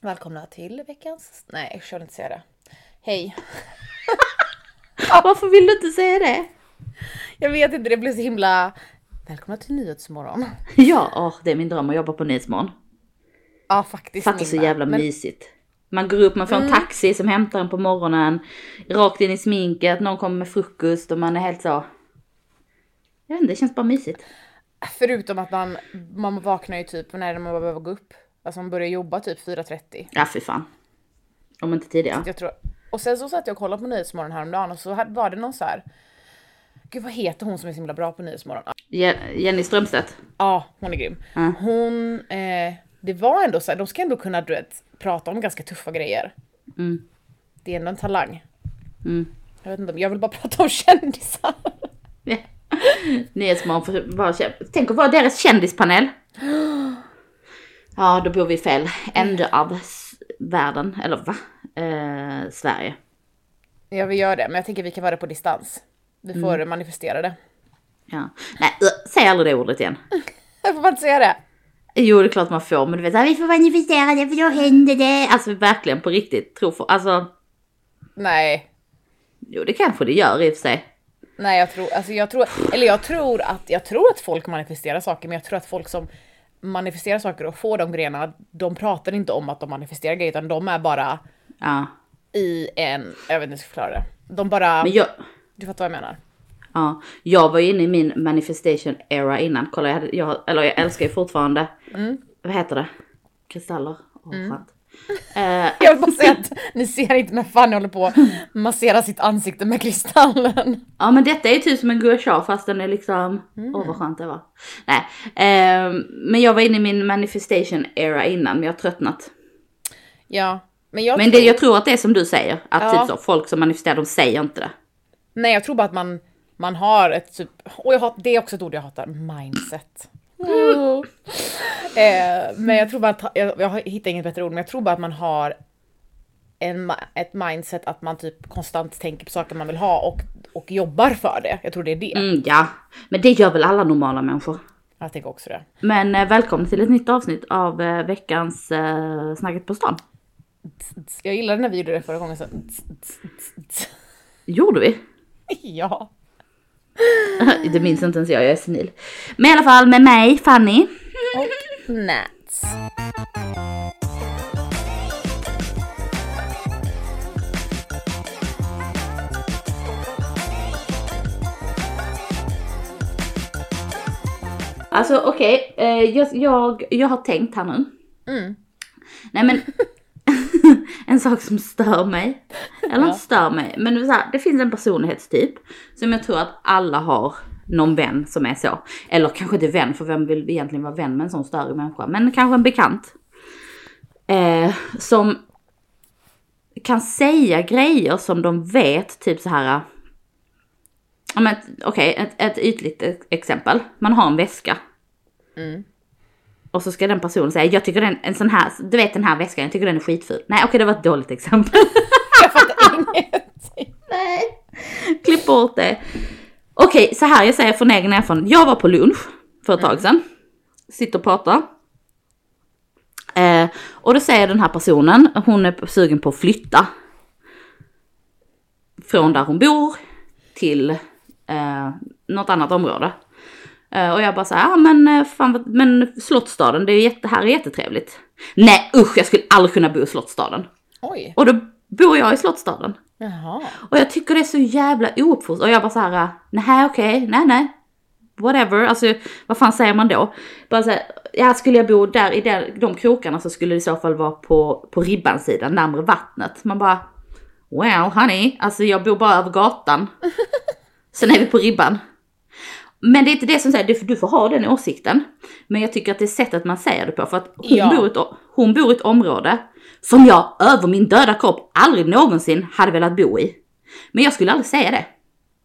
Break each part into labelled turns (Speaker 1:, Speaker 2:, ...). Speaker 1: Välkomna till veckans... Nej, jag vill inte säga det. Hej!
Speaker 2: Varför vill du inte säga det?
Speaker 1: Jag vet inte, det blev så himla... Välkomna till Nyhetsmorgon.
Speaker 2: Ja, åh, det är min dröm att jobba på Nyhetsmorgon.
Speaker 1: Ja, faktiskt.
Speaker 2: Fattar så
Speaker 1: Nina.
Speaker 2: jävla
Speaker 1: Men
Speaker 2: mysigt. Man går upp, man får en taxi som hämtar en på morgonen, rakt in i sminket, någon kommer med frukost och man är helt så... Jag vet inte, det känns bara mysigt.
Speaker 1: Förutom att man, man vaknar ju typ när man behöver gå upp. Alltså man börjar jobba typ 4.30.
Speaker 2: Ja, fy fan. Om inte tidigare.
Speaker 1: Jag tror... Och sen så satt jag och kollade på Nyhetsmorgon häromdagen och så hade- var det någon så här... Gud vad heter hon som är så himla bra på Nyhetsmorgon?
Speaker 2: Je- Jenny Strömstedt.
Speaker 1: Ja, hon är grym.
Speaker 2: Ja.
Speaker 1: Hon, eh, det var ändå så här, de ska ändå kunna du vet, prata om ganska tuffa grejer.
Speaker 2: Mm.
Speaker 1: Det är ändå en talang.
Speaker 2: Mm.
Speaker 1: Jag vet inte, om- jag vill bara prata om kändisar.
Speaker 2: Ja. Nyhetsmorgon för bara, Tänk att vara deras kändispanel. Ja, då bor vi fel ände av s- världen, eller va? Eh, Sverige.
Speaker 1: Jag vill göra det, men jag tänker vi kan vara det på distans. Vi får manifestera det.
Speaker 2: Ja. Nej, ö, säg aldrig det ordet igen.
Speaker 1: Jag får bara inte säga det.
Speaker 2: Jo, det är klart man får, men du vet, så här, vi får manifestera det för då händer det. Alltså verkligen på riktigt, tro för, alltså,
Speaker 1: Nej,
Speaker 2: jo det kanske det gör i och för sig.
Speaker 1: nej jag tror, alltså jag tror, eller jag tror att, jag tror att folk manifesterar saker, men jag tror att folk som manifesterar saker och får de grejerna, de pratar inte om att de manifesterar grejer, utan de är bara
Speaker 2: Ja,
Speaker 1: i en, jag vet inte hur jag ska förklara det. De bara,
Speaker 2: men jag,
Speaker 1: du fattar vad jag menar.
Speaker 2: ja, jag var ju inne i min manifestation era innan. Kolla, jag, hade, jag, eller jag älskar ju fortfarande,
Speaker 1: Mm.
Speaker 2: vad heter det? Kristaller? Åh, skönt. Eh,
Speaker 1: Jag vill bara säga att ni ser inte när Fanny håller på att massera sitt ansikte med kristallen.
Speaker 2: Ja men detta är ju typ som en gouacha fast den är liksom,
Speaker 1: Mm.
Speaker 2: åh vad skönt det var. Nej, ehm, men jag var inne i min manifestation era innan men jag har tröttnat.
Speaker 1: Ja, men jag,
Speaker 2: Men det, jag tror att det är som du säger, att
Speaker 1: Ja.
Speaker 2: typ så, folk som manifesterar de säger inte det.
Speaker 1: nej jag tror bara att man, man har ett typ, och jag hat, det är också ett ord jag hatar, mindset. eh, men jag tror bara att, jag, jag hittar inget bättre ord, men jag tror bara att man har en, ma- ett mindset att man typ konstant tänker på saker man vill ha och, och jobbar för det. Jag tror det är det.
Speaker 2: Mm, ja, men det gör väl alla normala människor.
Speaker 1: Jag tänker också det.
Speaker 2: Men eh, välkommen till ett nytt avsnitt av eh, veckans eh, Snacket på stan.
Speaker 1: Jag gillade när vi gjorde det förra gången så.
Speaker 2: Gjorde vi?
Speaker 1: Ja.
Speaker 2: det minns inte ens jag, jag är senil. Men i alla fall med mig, Fanny.
Speaker 1: Och Nats.
Speaker 2: Alltså okej, eh, jag, jag, jag har tänkt här nu.
Speaker 1: Mm.
Speaker 2: Nej men, en sak som stör mig. Eller inte stör mig, men det, är så här, det finns en personlighetstyp som jag tror att alla har någon vän som är så. Eller kanske inte vän, för vem vill egentligen vara vän med en sån större människa? Men kanske en bekant. Eh, som kan säga grejer som de vet, typ så här. ja, men ett- Okej, ett, ett ytligt e- exempel. Man har en väska. Och så ska den personen säga, jag tycker den, en sån här, du vet den här väskan, jag tycker den är skitful. Nej okej det var ett dåligt exempel.
Speaker 1: Jag fattar ingenting.
Speaker 2: Nej. Klipp bort det. Okej, så här jag säger från egen erfarenhet. Jag var på lunch för ett tag sedan. Sitter och pratar. Eh, och då säger den här personen, hon är sugen på att flytta. Från där hon bor till eh, något annat område. Eh, och jag bara så här, ah, men, eh, fan, vad- men Slottsstaden, det är jätte, här är jättetrevligt. Nej usch, jag skulle aldrig kunna bo i Slottsstaden.
Speaker 1: Oj.
Speaker 2: Och då bor jag i Slottsstaden.
Speaker 1: Jaha.
Speaker 2: Och jag tycker det är så jävla ouppfostrat. Och jag bara så här, nej okej, nej nej. Whatever, alltså vad fan säger man då? Bara så här, ja skulle jag bo där i de, de krokarna så skulle det i så fall vara på, på ribbansidan, närmare vattnet. Man bara, well honey, alltså jag bor bara över gatan. Sen är vi på ribban. Men det är inte det som säger, du, du får ha den åsikten. Men jag tycker att det är sättet man säger det på. För att hon,
Speaker 1: Ja.
Speaker 2: bor i ett, o- hon bor i ett område som jag över min döda kropp aldrig någonsin hade velat bo i. Men jag skulle aldrig säga det.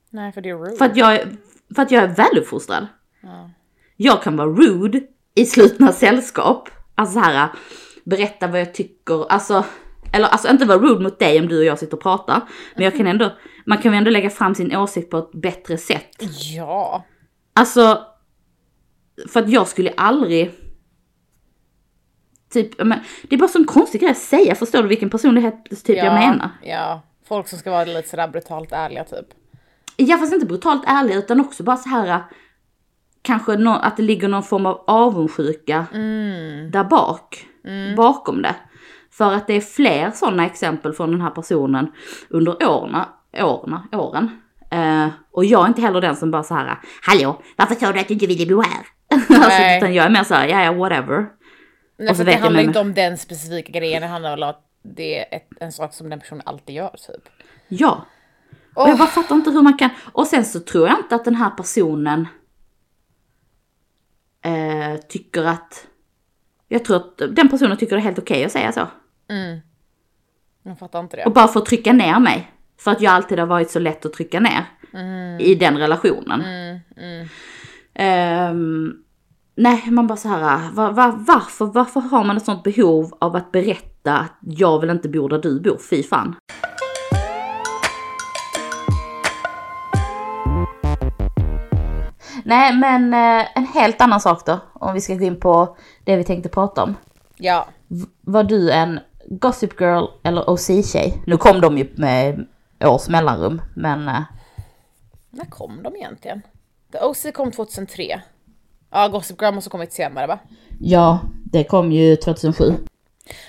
Speaker 1: Nej, för det är rude.
Speaker 2: För att jag, är- för att jag är väluppfostrad.
Speaker 1: Ja.
Speaker 2: Jag kan vara rude i slutna sällskap. Alltså så här, berätta vad jag tycker. Alltså, eller alltså inte vara rude mot dig om du och jag sitter och pratar. Men jag kan ändå, man kan ju ändå lägga fram sin åsikt på ett bättre sätt.
Speaker 1: ja.
Speaker 2: Alltså, för att jag skulle aldrig Typ, ja, men, det är bara sån konstig grej att säga, förstår du vilken personlighetstyp typ jag menar?
Speaker 1: Ja, folk som ska vara lite sådär brutalt ärliga typ.
Speaker 2: Ja fast inte brutalt ärlig utan också bara så här äh, kanske nå- att det ligger någon form av avundsjuka där bak, bakom det. För att det är fler sådana exempel från den här personen under åren, åren, åren. Eh, och jag är inte heller den som bara så här, äh, hallå, varför sa du att du inte ville bo här? alltså,
Speaker 1: Nej.
Speaker 2: utan jag är mer så här, ja ja whatever.
Speaker 1: Nej,
Speaker 2: Och så
Speaker 1: för det
Speaker 2: vet jag
Speaker 1: handlar
Speaker 2: med-
Speaker 1: inte om den specifika grejen, det handlar väl om att det är ett, en sak som den personen alltid gör typ.
Speaker 2: Ja. Och jag bara fattar inte hur man kan. Och sen så tror jag inte att den här personen eh, tycker att... Jag tror att den personen tycker det är helt okej att säga så.
Speaker 1: Jag fattar inte
Speaker 2: Och
Speaker 1: det.
Speaker 2: bara för att trycka ner mig. För att jag alltid har varit så lätt att trycka ner. I den relationen. Ehm, nej, man bara så här. Var, var, varför, varför har man ett sånt behov av att berätta att jag vill inte bo där du bor? Fy fan. Nej, men eh, en helt annan sak då. Om vi ska gå in på det vi tänkte prata om.
Speaker 1: Ja,
Speaker 2: Var du en Gossip Girl eller OC-tjej? Nu kom de ju med års mellanrum, men... eh,
Speaker 1: när kom de egentligen? The OC kom 2003. Ja, Gossip Girl måste ha kommit senare va?
Speaker 2: Ja, det kom ju 2007.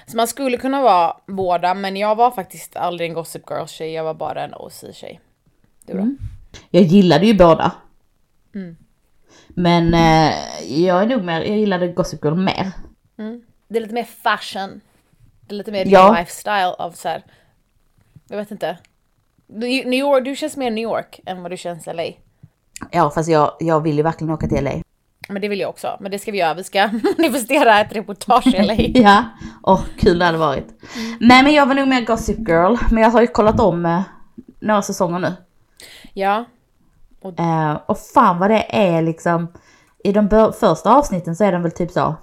Speaker 1: Så man skulle kunna vara båda, men jag var faktiskt aldrig en Gossip Girl tjej, jag var bara en OC tjej. Du då?
Speaker 2: Jag gillade ju båda. Men eh, jag är nog mer, jag gillade Gossip Girl mer.
Speaker 1: Det är lite mer fashion. Det är lite mer
Speaker 2: Ja.
Speaker 1: ja. lifestyle av så här. Jag vet inte. New New York, du känns mer New York än vad du känns LA.
Speaker 2: Ja, fast jag, jag vill ju verkligen åka till LA.
Speaker 1: Men det vill jag också. Men det ska vi göra. Vi ska manifestera ett reportage i LA.
Speaker 2: Ja, åh kul det hade varit. Nej men jag var nog mer Gossip Girl, men jag har ju kollat om eh, några säsonger nu.
Speaker 1: Ja.
Speaker 2: Eh, och fan vad det är liksom. I de bör- första avsnitten så är den väl typ så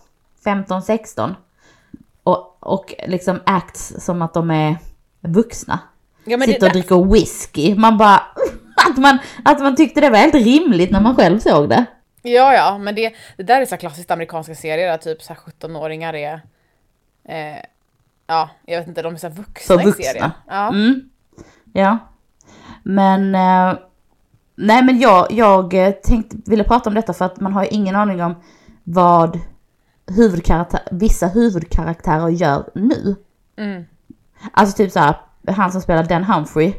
Speaker 2: 15-16. Och, och liksom acts som att de är vuxna.
Speaker 1: ja men det,
Speaker 2: Sitter och dricker whisky. Man bara... Att man, att man tyckte det var helt rimligt när man själv såg det.
Speaker 1: ja, ja, men det, det där är så här klassiskt amerikanska serier där typ så här 17-åringar är... Eh, ja, jag vet inte, de är så här vuxna,
Speaker 2: För vuxna.
Speaker 1: i serien. Ja.
Speaker 2: Mm. Ja. Men... Eh, nej men jag, jag eh, tänkte, ville prata om detta för att man har ju ingen aning om vad huvudkaraktär, vissa huvudkaraktärer gör nu.
Speaker 1: Mm.
Speaker 2: Alltså typ såhär, han som spelar Dan Humphrey,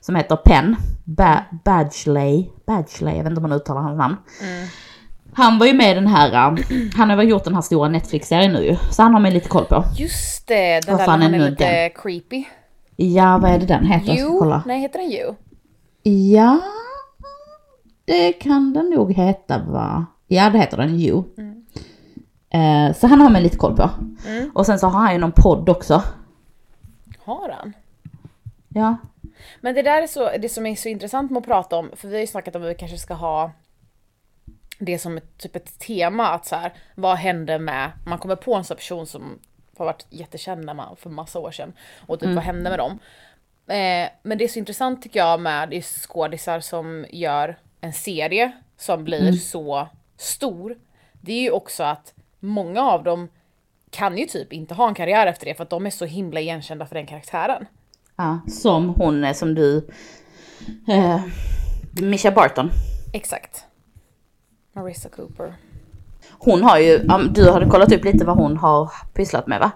Speaker 2: som heter Penn, ba- Badgley, Badgley, jag vet inte om man uttalar hans namn. Han var ju med i den här, äh, han har väl gjort den här stora Netflix-serien nu ju, så han har man lite koll på.
Speaker 1: Just det, den
Speaker 2: Vad
Speaker 1: där
Speaker 2: fan
Speaker 1: han
Speaker 2: är
Speaker 1: är
Speaker 2: nu
Speaker 1: lite creepy.
Speaker 2: Ja, vad är det den heter? Jag ska
Speaker 1: You?
Speaker 2: kolla.
Speaker 1: Nej, heter den You?
Speaker 2: Ja, det kan den nog heta va? Ja, det heter den ju.
Speaker 1: Mm.
Speaker 2: Eh, Så han har man lite koll på. Och sen så har han ju någon podd också.
Speaker 1: Har han?
Speaker 2: Ja,
Speaker 1: Men det där är så, det som är så intressant med att prata om, för vi har ju snackat om att vi kanske ska ha det som ett, typ ett tema att så här, vad hände med, man kommer på en sån här person som har varit jättekänd när man, för massa år sedan och typ vad hände med dem? Eh, men det är så intressant tycker jag med just skådisar som gör en serie som blir så stor. Det är ju också att många av dem kan ju typ inte ha en karriär efter det för att de är så himla igenkända för den karaktären.
Speaker 2: ja som hon eh, som du... Eh, Misha Barton.
Speaker 1: Exakt. Marissa Cooper.
Speaker 2: Hon har ju, ja, men du hade kollat upp lite vad hon har pysslat med va?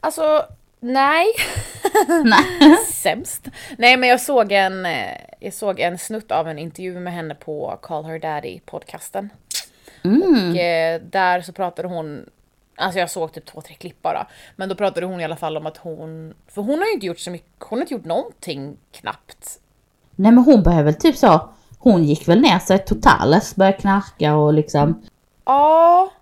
Speaker 1: Alltså, nej.
Speaker 2: Nej.
Speaker 1: Sämst. Nej men jag såg en, eh, jag såg en snutt av en intervju med henne på Call Her Daddy podcasten. Och eh, där så pratade hon, alltså jag såg typ två, tre klipp bara. Men då pratade hon i alla fall om att hon, för hon har ju inte gjort så mycket, hon har inte gjort någonting knappt.
Speaker 2: Nej men hon behöver väl typ så, hon gick väl ner sig totalt, alltså började knarka och liksom.
Speaker 1: Ja,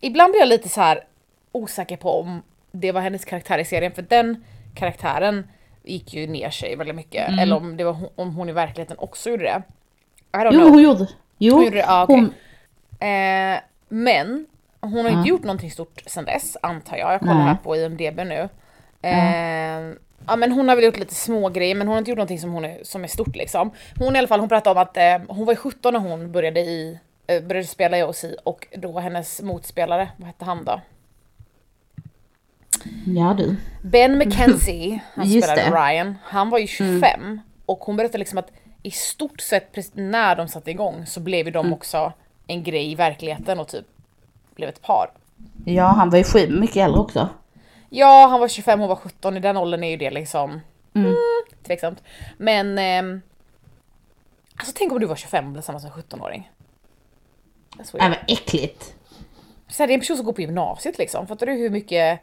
Speaker 1: ibland blir jag lite så här osäker på om det var hennes karaktär i serien för den karaktären gick ju ner sig väldigt mycket.
Speaker 2: Mm.
Speaker 1: Eller om, det var hon, om hon i verkligheten också gjorde det. I don't
Speaker 2: Jo
Speaker 1: know.
Speaker 2: hon gjorde, jo
Speaker 1: Hon gjorde det, ja, okej.
Speaker 2: hon,
Speaker 1: Eh, men hon har inte gjort någonting stort sen dess antar jag. Jag kollar
Speaker 2: Nej.
Speaker 1: här på IMDB nu. Eh, ja men hon har väl gjort lite små grejer men hon har inte gjort någonting som, hon är, som är stort liksom. Hon i alla fall hon pratade om att eh, hon var ju 17 när hon började i eh, började spela i OC och då var hennes motspelare, vad hette han då?
Speaker 2: Ja du.
Speaker 1: Ben McKenzie, han
Speaker 2: Just
Speaker 1: spelade
Speaker 2: det. Mm.
Speaker 1: Ryan, han var ju 25 och hon berättade liksom att i stort sett precis när de satte igång så blev ju de
Speaker 2: Mm.
Speaker 1: också en grej i verkligheten och typ blev ett par.
Speaker 2: Ja han var ju sju, mycket äldre också.
Speaker 1: Ja, han var 25, hon var 17, i den åldern är ju det liksom mm. tveksamt. Men ehm, alltså tänk om du var 25 och blev tillsammans med en 17-åring. That's weird.
Speaker 2: Nej vad äckligt.
Speaker 1: Så här, det är en person som går på gymnasiet liksom, fattar du hur mycket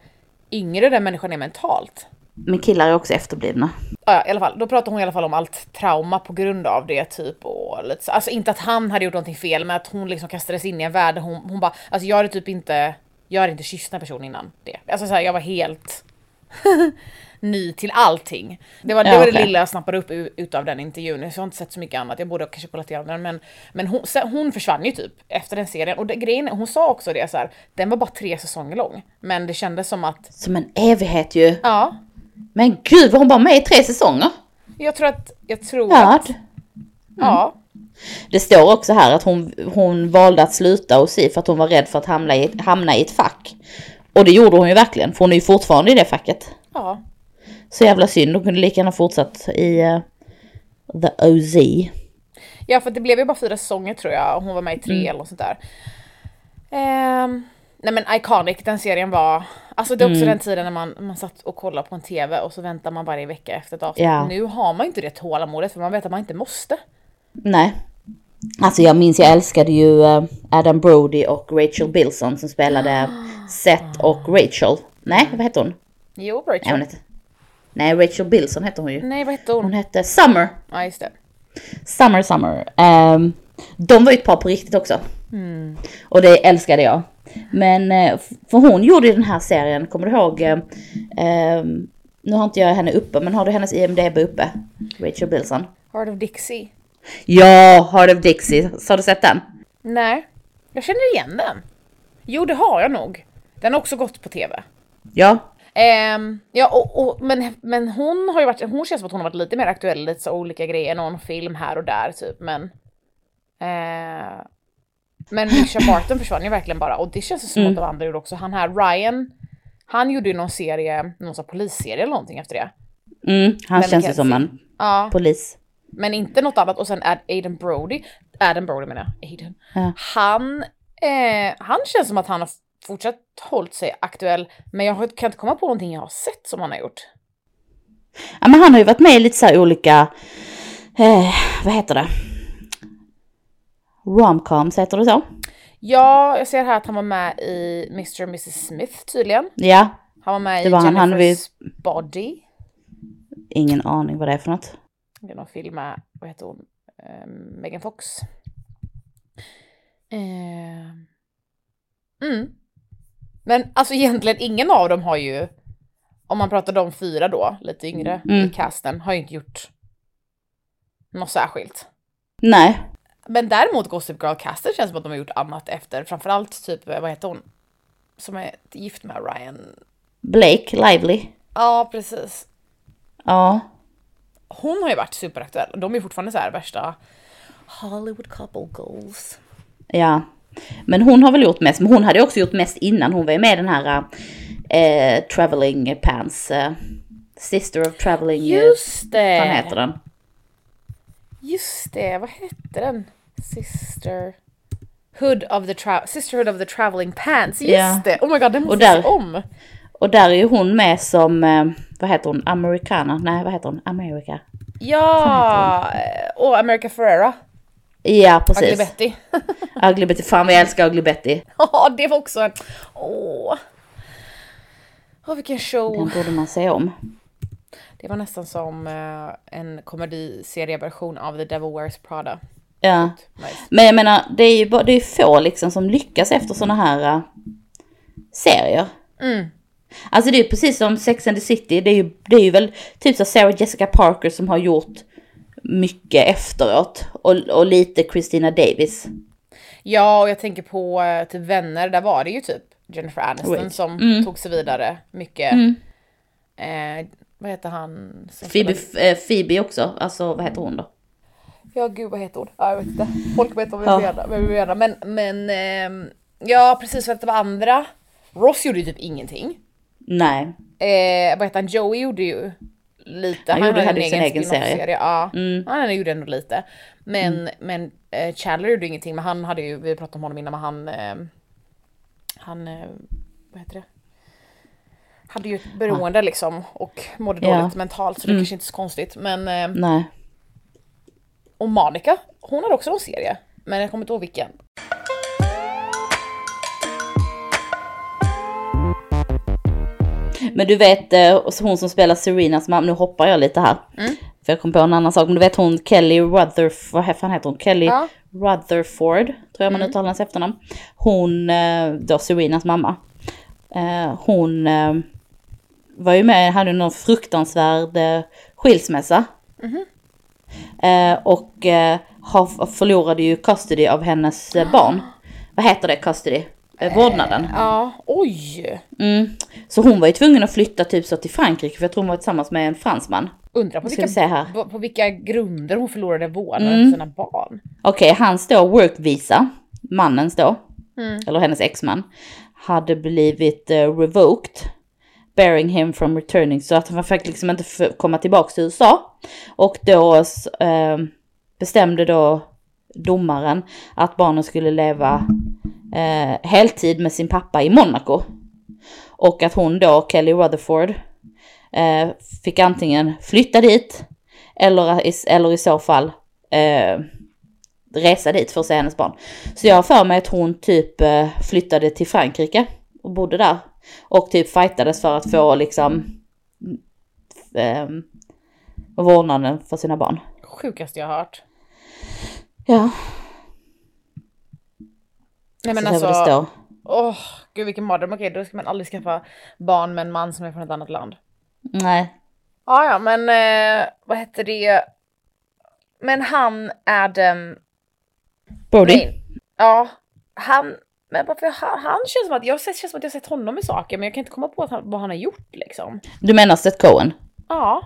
Speaker 1: yngre den människan är mentalt?
Speaker 2: Men killar är också efterblivna.
Speaker 1: Ja, ja, i alla fall. Då pratar hon i alla fall om allt trauma på grund av det typ och lite så. Alltså inte att han hade gjort någonting fel men att hon liksom kastades in i en värld där hon, hon bara, alltså jag hade typ inte, jag hade inte kysst en person innan det. Alltså så här, jag var helt ny till allting. Det var, det,
Speaker 2: Ja,
Speaker 1: var det
Speaker 2: okej.
Speaker 1: lilla jag snappade upp u- utav den intervjun, så jag har inte sett så mycket annat. Jag borde kanske kollat igenom den men, men hon, sen, hon försvann ju typ efter den serien och det, grejen, är- hon sa också det så här, den var bara tre säsonger lång. Men det kändes som att,
Speaker 2: Som en evighet ju.
Speaker 1: ja,
Speaker 2: Men gud var hon bara med i tre säsonger?
Speaker 1: jag tror att, jag tror att,
Speaker 2: Värd.
Speaker 1: ja.
Speaker 2: Det står också här att hon, hon valde att sluta och si för att hon var rädd för att hamna i, ett- hamna i ett fack. Och det gjorde hon ju verkligen, för hon är ju fortfarande i det facket.
Speaker 1: Ja,
Speaker 2: Så jävla synd, hon kunde lika gärna fortsatt i eh, the OZ.
Speaker 1: Ja för det blev ju bara fyra säsonger tror jag och hon var med i tre eller något sånt där. Ehm, nej men Iconic, den serien var, alltså det är också den tiden när man, man satt och kollade på en TV och så väntar man varje vecka efter ett avsnitt.
Speaker 2: Ja.
Speaker 1: Nu har man ju inte det tålamodet för man vet att man inte måste.
Speaker 2: Nej. Alltså jag minns, jag älskade ju eh, Adam Brody och Rachel Bilson som spelade Seth och Rachel. Nej, vad hette hon?
Speaker 1: Jo
Speaker 2: Nej, hon
Speaker 1: Rachel.
Speaker 2: hette... Nej, Rachel Bilson hette hon ju.
Speaker 1: Nej vad hette hon?
Speaker 2: Hon hette Summer.
Speaker 1: Ja just det.
Speaker 2: Summer Summer. Ehm, de var ju ett par på riktigt också. Mm. Och det älskade jag. Men eh, f- för hon gjorde ju den här serien, kommer du ihåg? eh, ehm, nu har inte jag henne uppe, men har du hennes IMDB uppe? Rachel Bilson.
Speaker 1: Heart of Dixie.
Speaker 2: Ja, Heart of Dixie. Så har du sett den?
Speaker 1: Nej, jag känner igen den. Jo det har jag nog. Den har också gått på TV.
Speaker 2: Ja.
Speaker 1: Ehm, ja, och, och, men, men hon har ju varit, hon känns som att hon har varit lite mer aktuell, lite så olika grejer, någon film här och där typ, men... eh, men Mischa Barton försvann ju verkligen bara, och det känns ju som att de andra gjorde också. Han här Ryan, han gjorde ju någon serie, någon sån här polisserie eller någonting efter det.
Speaker 2: Mm, han
Speaker 1: Vem
Speaker 2: känns ju
Speaker 1: kan
Speaker 2: som
Speaker 1: se?
Speaker 2: en
Speaker 1: Ja,
Speaker 2: polis.
Speaker 1: men inte något annat. Och sen Ad- Aiden Brody, Adam Brody menar jag, Aiden.
Speaker 2: Ja.
Speaker 1: Han, eh, han känns som att han har fortsatt hållit sig aktuell, men jag har- kan inte komma på någonting jag har sett som han har gjort.
Speaker 2: Ja, men han har ju varit med i lite så här olika, eh, vad heter det? Romcoms, heter det så?
Speaker 1: Ja, jag ser här att han var med i Mr. och Mrs. Smith tydligen.
Speaker 2: Ja,
Speaker 1: Han var med
Speaker 2: Det
Speaker 1: i
Speaker 2: var han, han
Speaker 1: Jennifer's Body.
Speaker 2: ingen aning vad det är för något.
Speaker 1: Det är någon film med, vad heter hon, eh, Megan Fox. Eh, mm. Men alltså egentligen ingen av dem har ju, om man pratar de fyra då, lite yngre i
Speaker 2: Mm.
Speaker 1: casten, har ju inte gjort något särskilt.
Speaker 2: Nej,
Speaker 1: Men däremot Gossip Girl-casten känns som att de har gjort annat efter, framförallt typ, eh, vad heter hon, som är gift med Ryan
Speaker 2: Blake Lively.
Speaker 1: Ja, precis.
Speaker 2: Ja.
Speaker 1: Hon har ju varit superaktuell. De är fortfarande så här värsta Hollywood couple goals.
Speaker 2: Ja. Men hon har väl gjort mest, men hon hade också gjort mest innan. Hon var ju med i den här eh, Traveling Pants. Eh, Sister of Traveling... eh,
Speaker 1: Just
Speaker 2: Vad
Speaker 1: det!
Speaker 2: heter den?
Speaker 1: Just det, vad hette den? Sister... Hood of the tra- Sisterhood of the Traveling Pants, just
Speaker 2: Ja.
Speaker 1: det! Oh my god, den måste
Speaker 2: där-
Speaker 1: jag se om!
Speaker 2: Och där är ju hon med som, eh, vad heter hon, Americana? Nej, vad heter hon? America.
Speaker 1: Ja! Eh, Och America Ferrera,
Speaker 2: Ja, precis.
Speaker 1: Ugly Betty.
Speaker 2: Ugly Betty. Fan vad jag älskar Ugly Betty.
Speaker 1: Ja, det var också en... Åh! Åh, vilken show!
Speaker 2: Den borde man se om.
Speaker 1: Det var nästan som eh, en komediserieversion av The Devil Wears Prada.
Speaker 2: Ja.
Speaker 1: Nice.
Speaker 2: Men jag menar, det är ju bara, det är få liksom som lyckas efter sådana här eh, serier. Alltså det är ju precis som Sex and the City, det är ju, det är ju väl typ så Sarah Jessica Parker som har gjort mycket efteråt. Och, och lite Christina Davis.
Speaker 1: Ja, och jag tänker på eh, typ Vänner, där var det ju typ Jennifer Aniston
Speaker 2: Wait. Mm.
Speaker 1: som tog sig vidare mycket. Eh, vad heter han? som
Speaker 2: Phoebe,
Speaker 1: spelar-
Speaker 2: eh, Phoebe också, alltså vad heter hon då?
Speaker 1: Ja gud vad heter hon? Ja, jag vet inte. Folk vet vad vi
Speaker 2: Ja.
Speaker 1: menar. vad vi menar. Men, men ehm, ja precis för att det var andra. Ross gjorde ju typ ingenting.
Speaker 2: Nej.
Speaker 1: Eh, vad heter han? Joey gjorde ju lite.
Speaker 2: Han gjorde- hade ju sin egen
Speaker 1: spin-off-serie.
Speaker 2: serie. Mm.
Speaker 1: Ja, han gjorde ändå lite. Men, men eh, Chandler gjorde ingenting, men han hade ju, vi pratade om honom innan, men han, eh, han, eh, vad heter det? Hade ju ett beroende liksom och mådde
Speaker 2: Ja. Mm.
Speaker 1: dåligt mentalt så det kanske inte är så konstigt. Men, eh,
Speaker 2: Nej.
Speaker 1: och Monica, hon hade också en serie. Men jag kommer inte ihåg vilken.
Speaker 2: Men du vet eh, hon som spelar Serenas mamma, nu hoppar jag lite här. För jag kom på en annan sak, men du vet hon Kelly Rutherford, vad fan heter hon? Kelly
Speaker 1: Ja.
Speaker 2: Rutherford, tror jag man uttalar hennes efternamn. Hon, eh, då Serenas mamma. Eh, Hon eh, var ju med, hade någon fruktansvärd eh, skilsmässa. Eh, Och eh, har- förlorade ju custody av hennes eh, barn. Vad heter det, custody? Eh, Vårdnaden.
Speaker 1: Ja, oj!
Speaker 2: Mm. Så hon var ju tvungen att flytta typ så till Frankrike för jag tror hon var tillsammans med en fransman.
Speaker 1: Undrar på
Speaker 2: Ska vi
Speaker 1: vilka,
Speaker 2: se här. Mm.
Speaker 1: på, på vilka grunder hon förlorade vårdnaden för sina barn.
Speaker 2: Okej, hans då workvisa, mannens då, eller hennes exman, hade blivit eh, revoked. Bearing him from returning, så att han fick liksom inte f- komma tillbaka till USA. Och då eh, bestämde då domaren att barnen skulle leva eh, heltid med sin pappa i Monaco. Och att hon då, Kelly Rutherford, eh, fick antingen flytta dit eller, i- eller i så fall eh, resa dit för att se hennes barn. Så jag har för mig att hon typ eh, flyttade till Frankrike och bodde där. Och typ fightades för att få liksom eh, vårdnaden för sina barn.
Speaker 1: Sjukaste jag har hört.
Speaker 2: Ja,
Speaker 1: Nej men
Speaker 2: så alltså, det
Speaker 1: alltså,
Speaker 2: står.
Speaker 1: åh gud vilken mardröm. Okej då ska man aldrig skaffa barn med en man som är från ett annat land.
Speaker 2: Nej.
Speaker 1: Ja ja men eh, vad heter det? Men han Adam...
Speaker 2: Brody?
Speaker 1: Nej, ja, han... Men varför han, han känns som att jag, har sett- känns som att jag har sett honom i saker men jag kan inte komma på att han, vad han har gjort liksom.
Speaker 2: Du menar Seth Cohen?
Speaker 1: Ja.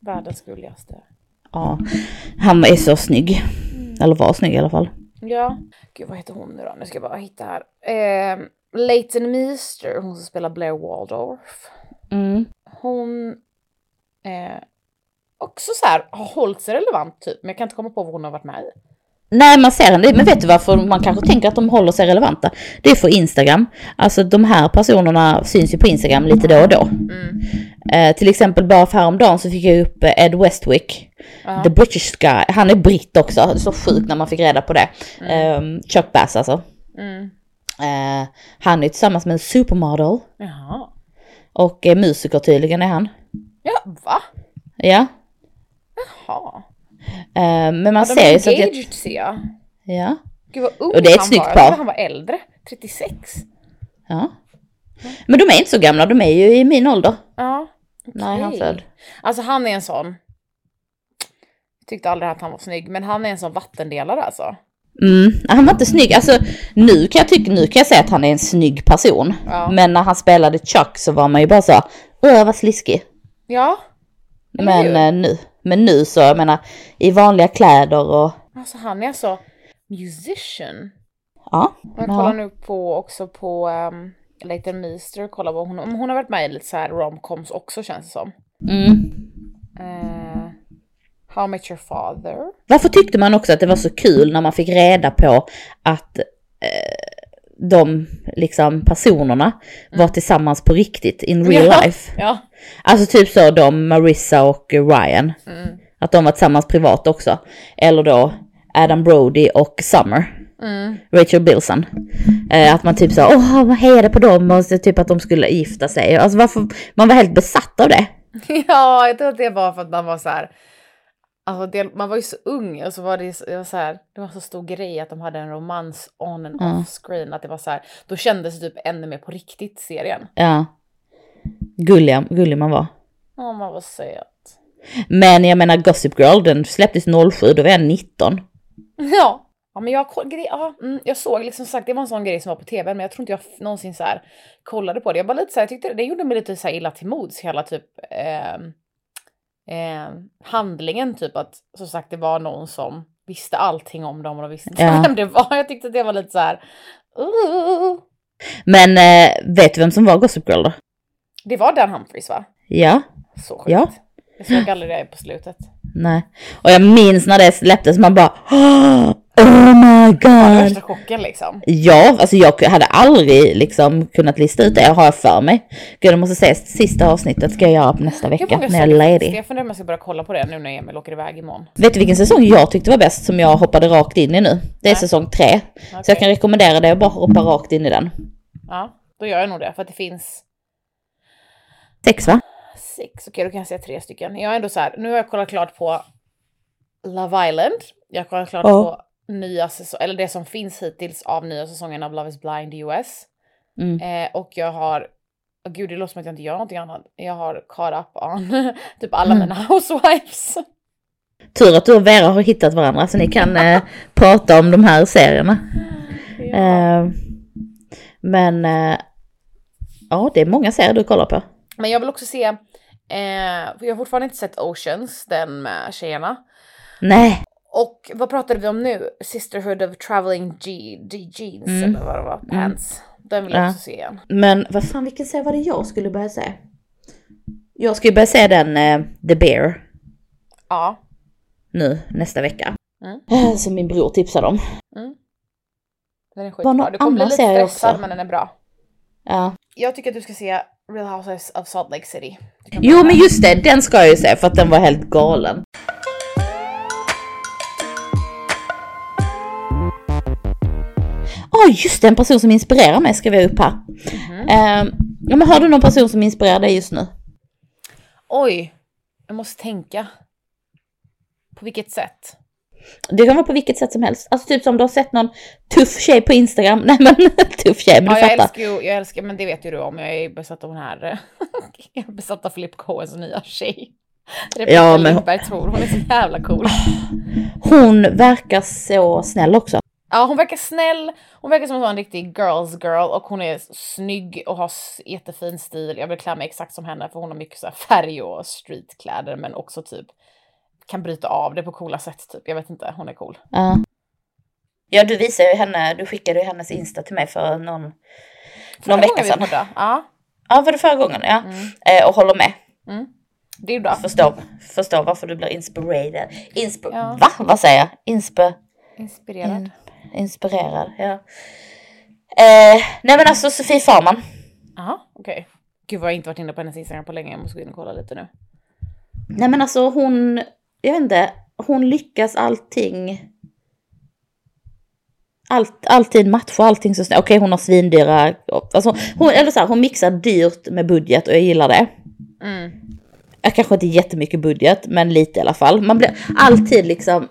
Speaker 1: Världens gulligaste.
Speaker 2: Ja. Han är så snygg. Eller var snygg i alla fall.
Speaker 1: Ja. Gud vad heter hon nu då? Nu ska jag bara hitta här. Eh, Leighton Meester, hon som spelar Blair Waldorf.
Speaker 2: Mm.
Speaker 1: Hon eh, också så här har hållit sig relevant typ, men jag kan inte komma på vad hon har varit med i.
Speaker 2: Nej man ser henne, men vet du varför man kanske tänker att de håller sig relevanta? Det är för Instagram. Alltså de här personerna syns ju på Instagram lite då och då. Eh, till exempel bara för häromdagen så fick jag upp eh, Ed Westwick. The British guy. Han är britt också. Det är så sjukt när man fick reda på det.
Speaker 1: Mm.
Speaker 2: Eh, Chuck Bass alltså. Eh, han är tillsammans med en supermodel.
Speaker 1: Jaha.
Speaker 2: Och eh, musiker tydligen är han.
Speaker 1: Ja, va?
Speaker 2: Ja.
Speaker 1: Ja.
Speaker 2: Eh, men man
Speaker 1: De
Speaker 2: ser
Speaker 1: är
Speaker 2: ju så att jag,
Speaker 1: engaged ser jag.
Speaker 2: Ja.
Speaker 1: Gud vad ung
Speaker 2: Och det är ett
Speaker 1: han
Speaker 2: snyggt
Speaker 1: var. Jag
Speaker 2: par.
Speaker 1: trodde han var äldre. 36.
Speaker 2: Ja. Men de är inte så gamla, de är ju i min ålder.
Speaker 1: Ja.
Speaker 2: Nej, han
Speaker 1: okej.
Speaker 2: född.
Speaker 1: Alltså han är en sån. Jag tyckte aldrig att han var snygg, men han är en sån vattendelare alltså.
Speaker 2: Mm. Han var inte snygg, alltså nu kan jag tycka, nu kan jag säga att han är en snygg person.
Speaker 1: Ja.
Speaker 2: Men när han spelade Chuck så var man ju bara så, åh vad sliskig.
Speaker 1: Ja.
Speaker 2: Men
Speaker 1: ju.
Speaker 2: eh, nu, men nu så, jag menar, i vanliga kläder och,
Speaker 1: Alltså han är alltså musician.
Speaker 2: ja.
Speaker 1: Jag
Speaker 2: Ja.
Speaker 1: kollar nu på också på um, Leighton Meester, kollar vad hon, om hon har varit med i lite så här romcoms också känns det som.
Speaker 2: Mm.
Speaker 1: Eh, How I Met Your Father.
Speaker 2: Varför tyckte man också att det var så kul när man fick reda på att eh, de liksom personerna var tillsammans på riktigt in real
Speaker 1: Ja.
Speaker 2: life?
Speaker 1: Ja.
Speaker 2: Alltså typ så de Marissa och eh, Ryan.
Speaker 1: Mm.
Speaker 2: Att de var tillsammans privat också. Eller då Adam Brody och Summer.
Speaker 1: Mm.
Speaker 2: Rachel Bilson. Eh, att man typ sa åh man hejade på dem och så typ att de skulle gifta sig. Alltså varför, man var helt besatt av det.
Speaker 1: Ja, jag tror att det var för att man var så här. Alltså det, man var ju så ung och så var det, så- det var så här, det var så stor grej att de hade en romans on and
Speaker 2: Ja.
Speaker 1: off screen. Att det var så här, då kändes det typ ännu mer på riktigt serien.
Speaker 2: Ja. Gulliga, gullig man var.
Speaker 1: Ja, man var söt.
Speaker 2: Men jag menar Gossip Girl den släpptes 07, då var jag 19.
Speaker 1: Ja. Ja, men jag, koll- grej, ja, mm, jag såg liksom sagt, det var en sån grej som var på tv, men jag tror inte jag f- någonsin så här kollade på det. Jag bara lite så här, jag tyckte det, det gjorde mig lite så här illa till mods, hela typ ehm, ehm, handlingen typ att som sagt det var någon som visste allting om dem och de visste inte
Speaker 2: Ja.
Speaker 1: vem det var. Jag tyckte det var lite så här. Uh.
Speaker 2: Men eh, vet du vem som var Gossip Girl då?
Speaker 1: Det var Dan Humphries va?
Speaker 2: Ja,
Speaker 1: Så sjukt.
Speaker 2: Ja.
Speaker 1: Jag såg aldrig det på slutet.
Speaker 2: nej. Och jag minns när det släpptes, man bara "Åh, Oh my god!
Speaker 1: Värsta chocken liksom.
Speaker 2: Ja, alltså jag hade aldrig liksom kunnat lista ut det, har jag för mig. Gud, jag måste säga, sista avsnittet ska jag göra på nästa vecka
Speaker 1: vågar
Speaker 2: när jag
Speaker 1: säga
Speaker 2: är
Speaker 1: det.
Speaker 2: ledig.
Speaker 1: Jag funderar om jag ska börja kolla på det nu när Emil åker iväg imorgon.
Speaker 2: Vet du vilken säsong jag tyckte var bäst som jag hoppade rakt in i nu? Det är säsong tre. Så
Speaker 1: Okej.
Speaker 2: jag kan rekommendera dig att bara hoppa rakt in i den.
Speaker 1: Ja, då gör jag nog det. För att det finns
Speaker 2: Sex va?
Speaker 1: sex, okej då kan jag säga tre stycken. Jag är ändå så här, nu har jag kollat klart på Love Island. Jag har kollat klart
Speaker 2: Ja.
Speaker 1: på nya säsong, eller det som finns hittills av nya säsongen av Love is blind US.
Speaker 2: Mm.
Speaker 1: Eh, och jag har, åh gud det låter som att jag inte gör någonting annat. Jag har caught up on typ alla mina housewives.
Speaker 2: Tur att du och Vera har hittat varandra så ni kan eh, prata om de här serierna.
Speaker 1: Ja.
Speaker 2: Eh, men eh, ja, det är många serier du kollar på.
Speaker 1: Men jag vill också se, eh, för jag har fortfarande inte sett Oceans, den med tjejerna.
Speaker 2: Nej,
Speaker 1: Och vad pratade vi om nu? Sisterhood of Traveling G- G- Jeans
Speaker 2: Mm.
Speaker 1: eller vad det var, Pants. Den vill jag
Speaker 2: Ja.
Speaker 1: också se igen.
Speaker 2: men vad fan vilken serie var det jag skulle börja se? Jag ska ju börja se den eh, The Bear
Speaker 1: Ja.
Speaker 2: nu nästa vecka.
Speaker 1: Mm.
Speaker 2: Eh, Som min bror tipsade om.
Speaker 1: Den är
Speaker 2: Var
Speaker 1: skitbra.
Speaker 2: någon
Speaker 1: Du kommer bli
Speaker 2: annan
Speaker 1: lite
Speaker 2: serie
Speaker 1: stressad
Speaker 2: också?
Speaker 1: men den är bra.
Speaker 2: Ja.
Speaker 1: Jag tycker att du ska se Real Housewives of Salt Lake City. Du kan
Speaker 2: Jo
Speaker 1: börja
Speaker 2: men
Speaker 1: där.
Speaker 2: just det, den ska jag ju se för att den var helt galen. Åh just det, en person som inspirerar mig skrev jag upp här.
Speaker 1: Mhm.
Speaker 2: Eh, ja, men har du någon person som inspirerar dig just nu?
Speaker 1: Oj, jag måste tänka. På vilket sätt?
Speaker 2: Det kan vara på vilket sätt som helst. Alltså typ som du har sett någon tuff tjej på Instagram. Nej men tuff tjej,
Speaker 1: Ja,
Speaker 2: men du
Speaker 1: jag
Speaker 2: fattar.
Speaker 1: älskar ju, jag älskar, men det vet ju du om. Jag är besatt av den här, eh, jag är besatt av Philip Cohens nya tjej. Rebecca
Speaker 2: Ja, men-
Speaker 1: Lindberg tror hon är så jävla cool.
Speaker 2: Hon verkar så snäll också.
Speaker 1: Ja, hon verkar snäll. Hon verkar som att vara en riktig girls girl och hon är snygg och har s- jättefin stil. Jag vill klä mig exakt som henne för hon har mycket så här färg och streetkläder men också typ kan bryta av det på coola sätt typ. Jag vet inte, hon är cool.
Speaker 2: Ja. Ja du visade ju henne, du skickade ju hennes Insta till mig för någon, någon vecka sedan.
Speaker 1: sedan. Ja,
Speaker 2: Ja, var det förra gången? Ja.
Speaker 1: Mm.
Speaker 2: Eh, och håller med.
Speaker 1: det är bra.
Speaker 2: Förstår, förstår varför du blir inspirerad. Insp-
Speaker 1: Ja.
Speaker 2: Va? Vad säger jag? Insp-
Speaker 1: Inspirerad.
Speaker 2: in- inspirerad, ja. Eh, nej men alltså Sofie Farman.
Speaker 1: Ja, okej. Gud vad jag inte varit inne på hennes Instagram på länge. Jag måste gå in och kolla lite nu.
Speaker 2: Nej men alltså hon, jag vet inte, hon lyckas allting. Allt, alltid matcha allting så snabbt. Okej hon har svindyra, alltså, hon, eller så här, hon mixar dyrt med budget och jag gillar det.
Speaker 1: Mm.
Speaker 2: jag kanske inte jättemycket budget, men lite i alla fall. Man blir alltid liksom,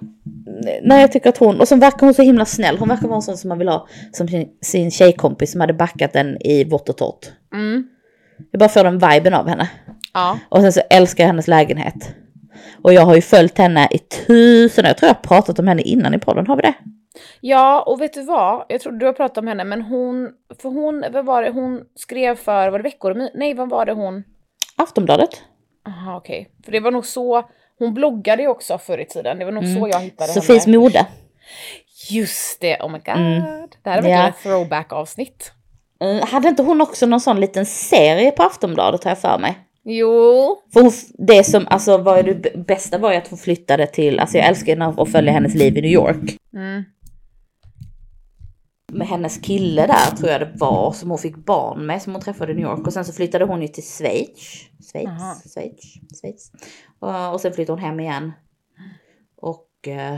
Speaker 2: när jag tycker att hon, och så verkar hon så himla snäll. Hon verkar vara en sån som man vill ha som sin, sin tjejkompis som hade backat den i vått och torrt.
Speaker 1: Mm.
Speaker 2: Jag bara får den viben av henne.
Speaker 1: Ja.
Speaker 2: Och sen så älskar jag hennes lägenhet. Och jag har ju följt henne i tusen år. Jag tror jag har pratat om henne innan i podden, har vi det?
Speaker 1: Ja, och vet du vad? Jag tror du har pratat om henne, men hon, för hon, vad var det hon skrev för, var det veckor? Nej, vad var det hon?
Speaker 2: Aftonbladet.
Speaker 1: Jaha okej. För det var nog så, hon bloggade ju också förr i tiden. Det var nog
Speaker 2: Mm.
Speaker 1: så jag hittade
Speaker 2: Sofies
Speaker 1: henne.
Speaker 2: mode.
Speaker 1: Just det, oh my god.
Speaker 2: Mm.
Speaker 1: Det här är verkligen
Speaker 2: Ja.
Speaker 1: ett throwback avsnitt.
Speaker 2: Mm, Hade inte hon också någon sån liten serie på Aftonbladet har jag för mig?
Speaker 1: Jo.
Speaker 2: För hon, det som alltså var det b- bästa var ju att hon flyttade till, alltså jag älskar henne och följer hennes liv i New York.
Speaker 1: Mm.
Speaker 2: Med hennes kille där tror jag det var som hon fick barn med som hon träffade i New York och sen så flyttade hon ju till Schweiz. Schweiz,
Speaker 1: Jaha.
Speaker 2: Schweiz, Schweiz. Och, och sen flyttade hon hem igen. Och, eh,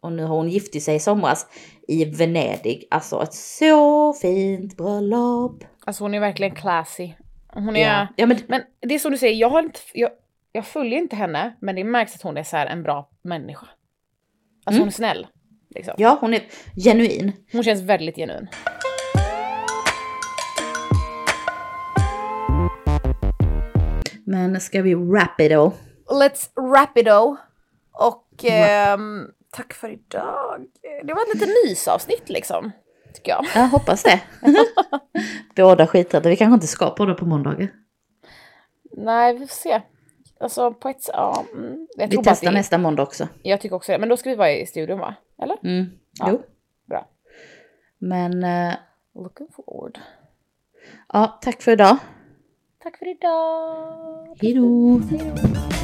Speaker 2: och nu har hon gift sig i somras i Venedig. Alltså ett så fint bröllop.
Speaker 1: Alltså hon är verkligen classy. Hon är...
Speaker 2: Ja, ja men
Speaker 1: Men det är som du säger, jag har inte... Jag, jag följer inte henne, men det märks att hon är så här en bra människa. Alltså
Speaker 2: Mm.
Speaker 1: hon är snäll. Liksom.
Speaker 2: ja, hon är genuin.
Speaker 1: Hon känns väldigt genuin.
Speaker 2: Men ska vi wrap it all?
Speaker 1: Let's rapido. Och
Speaker 2: Mm.
Speaker 1: ehm, tack för idag. Det var ett litet mysavsnitt liksom. Tycker jag.
Speaker 2: Jag hoppas det. Båda skiträdda. Vi kanske inte ska podda på måndagar.
Speaker 1: Nej, vi får se. Alltså på ett sätt, ja. mm. Jag,
Speaker 2: Vi
Speaker 1: tror bara att
Speaker 2: testar
Speaker 1: det,
Speaker 2: nästa måndag också.
Speaker 1: jag tycker också det. Men då ska vi vara i studion va? Eller?
Speaker 2: Mm.
Speaker 1: Ja.
Speaker 2: Jo.
Speaker 1: Bra.
Speaker 2: Men eh,
Speaker 1: Looking forward.
Speaker 2: ja, tack för idag. Tack för idag!
Speaker 1: Hejdå!
Speaker 2: Hejdå.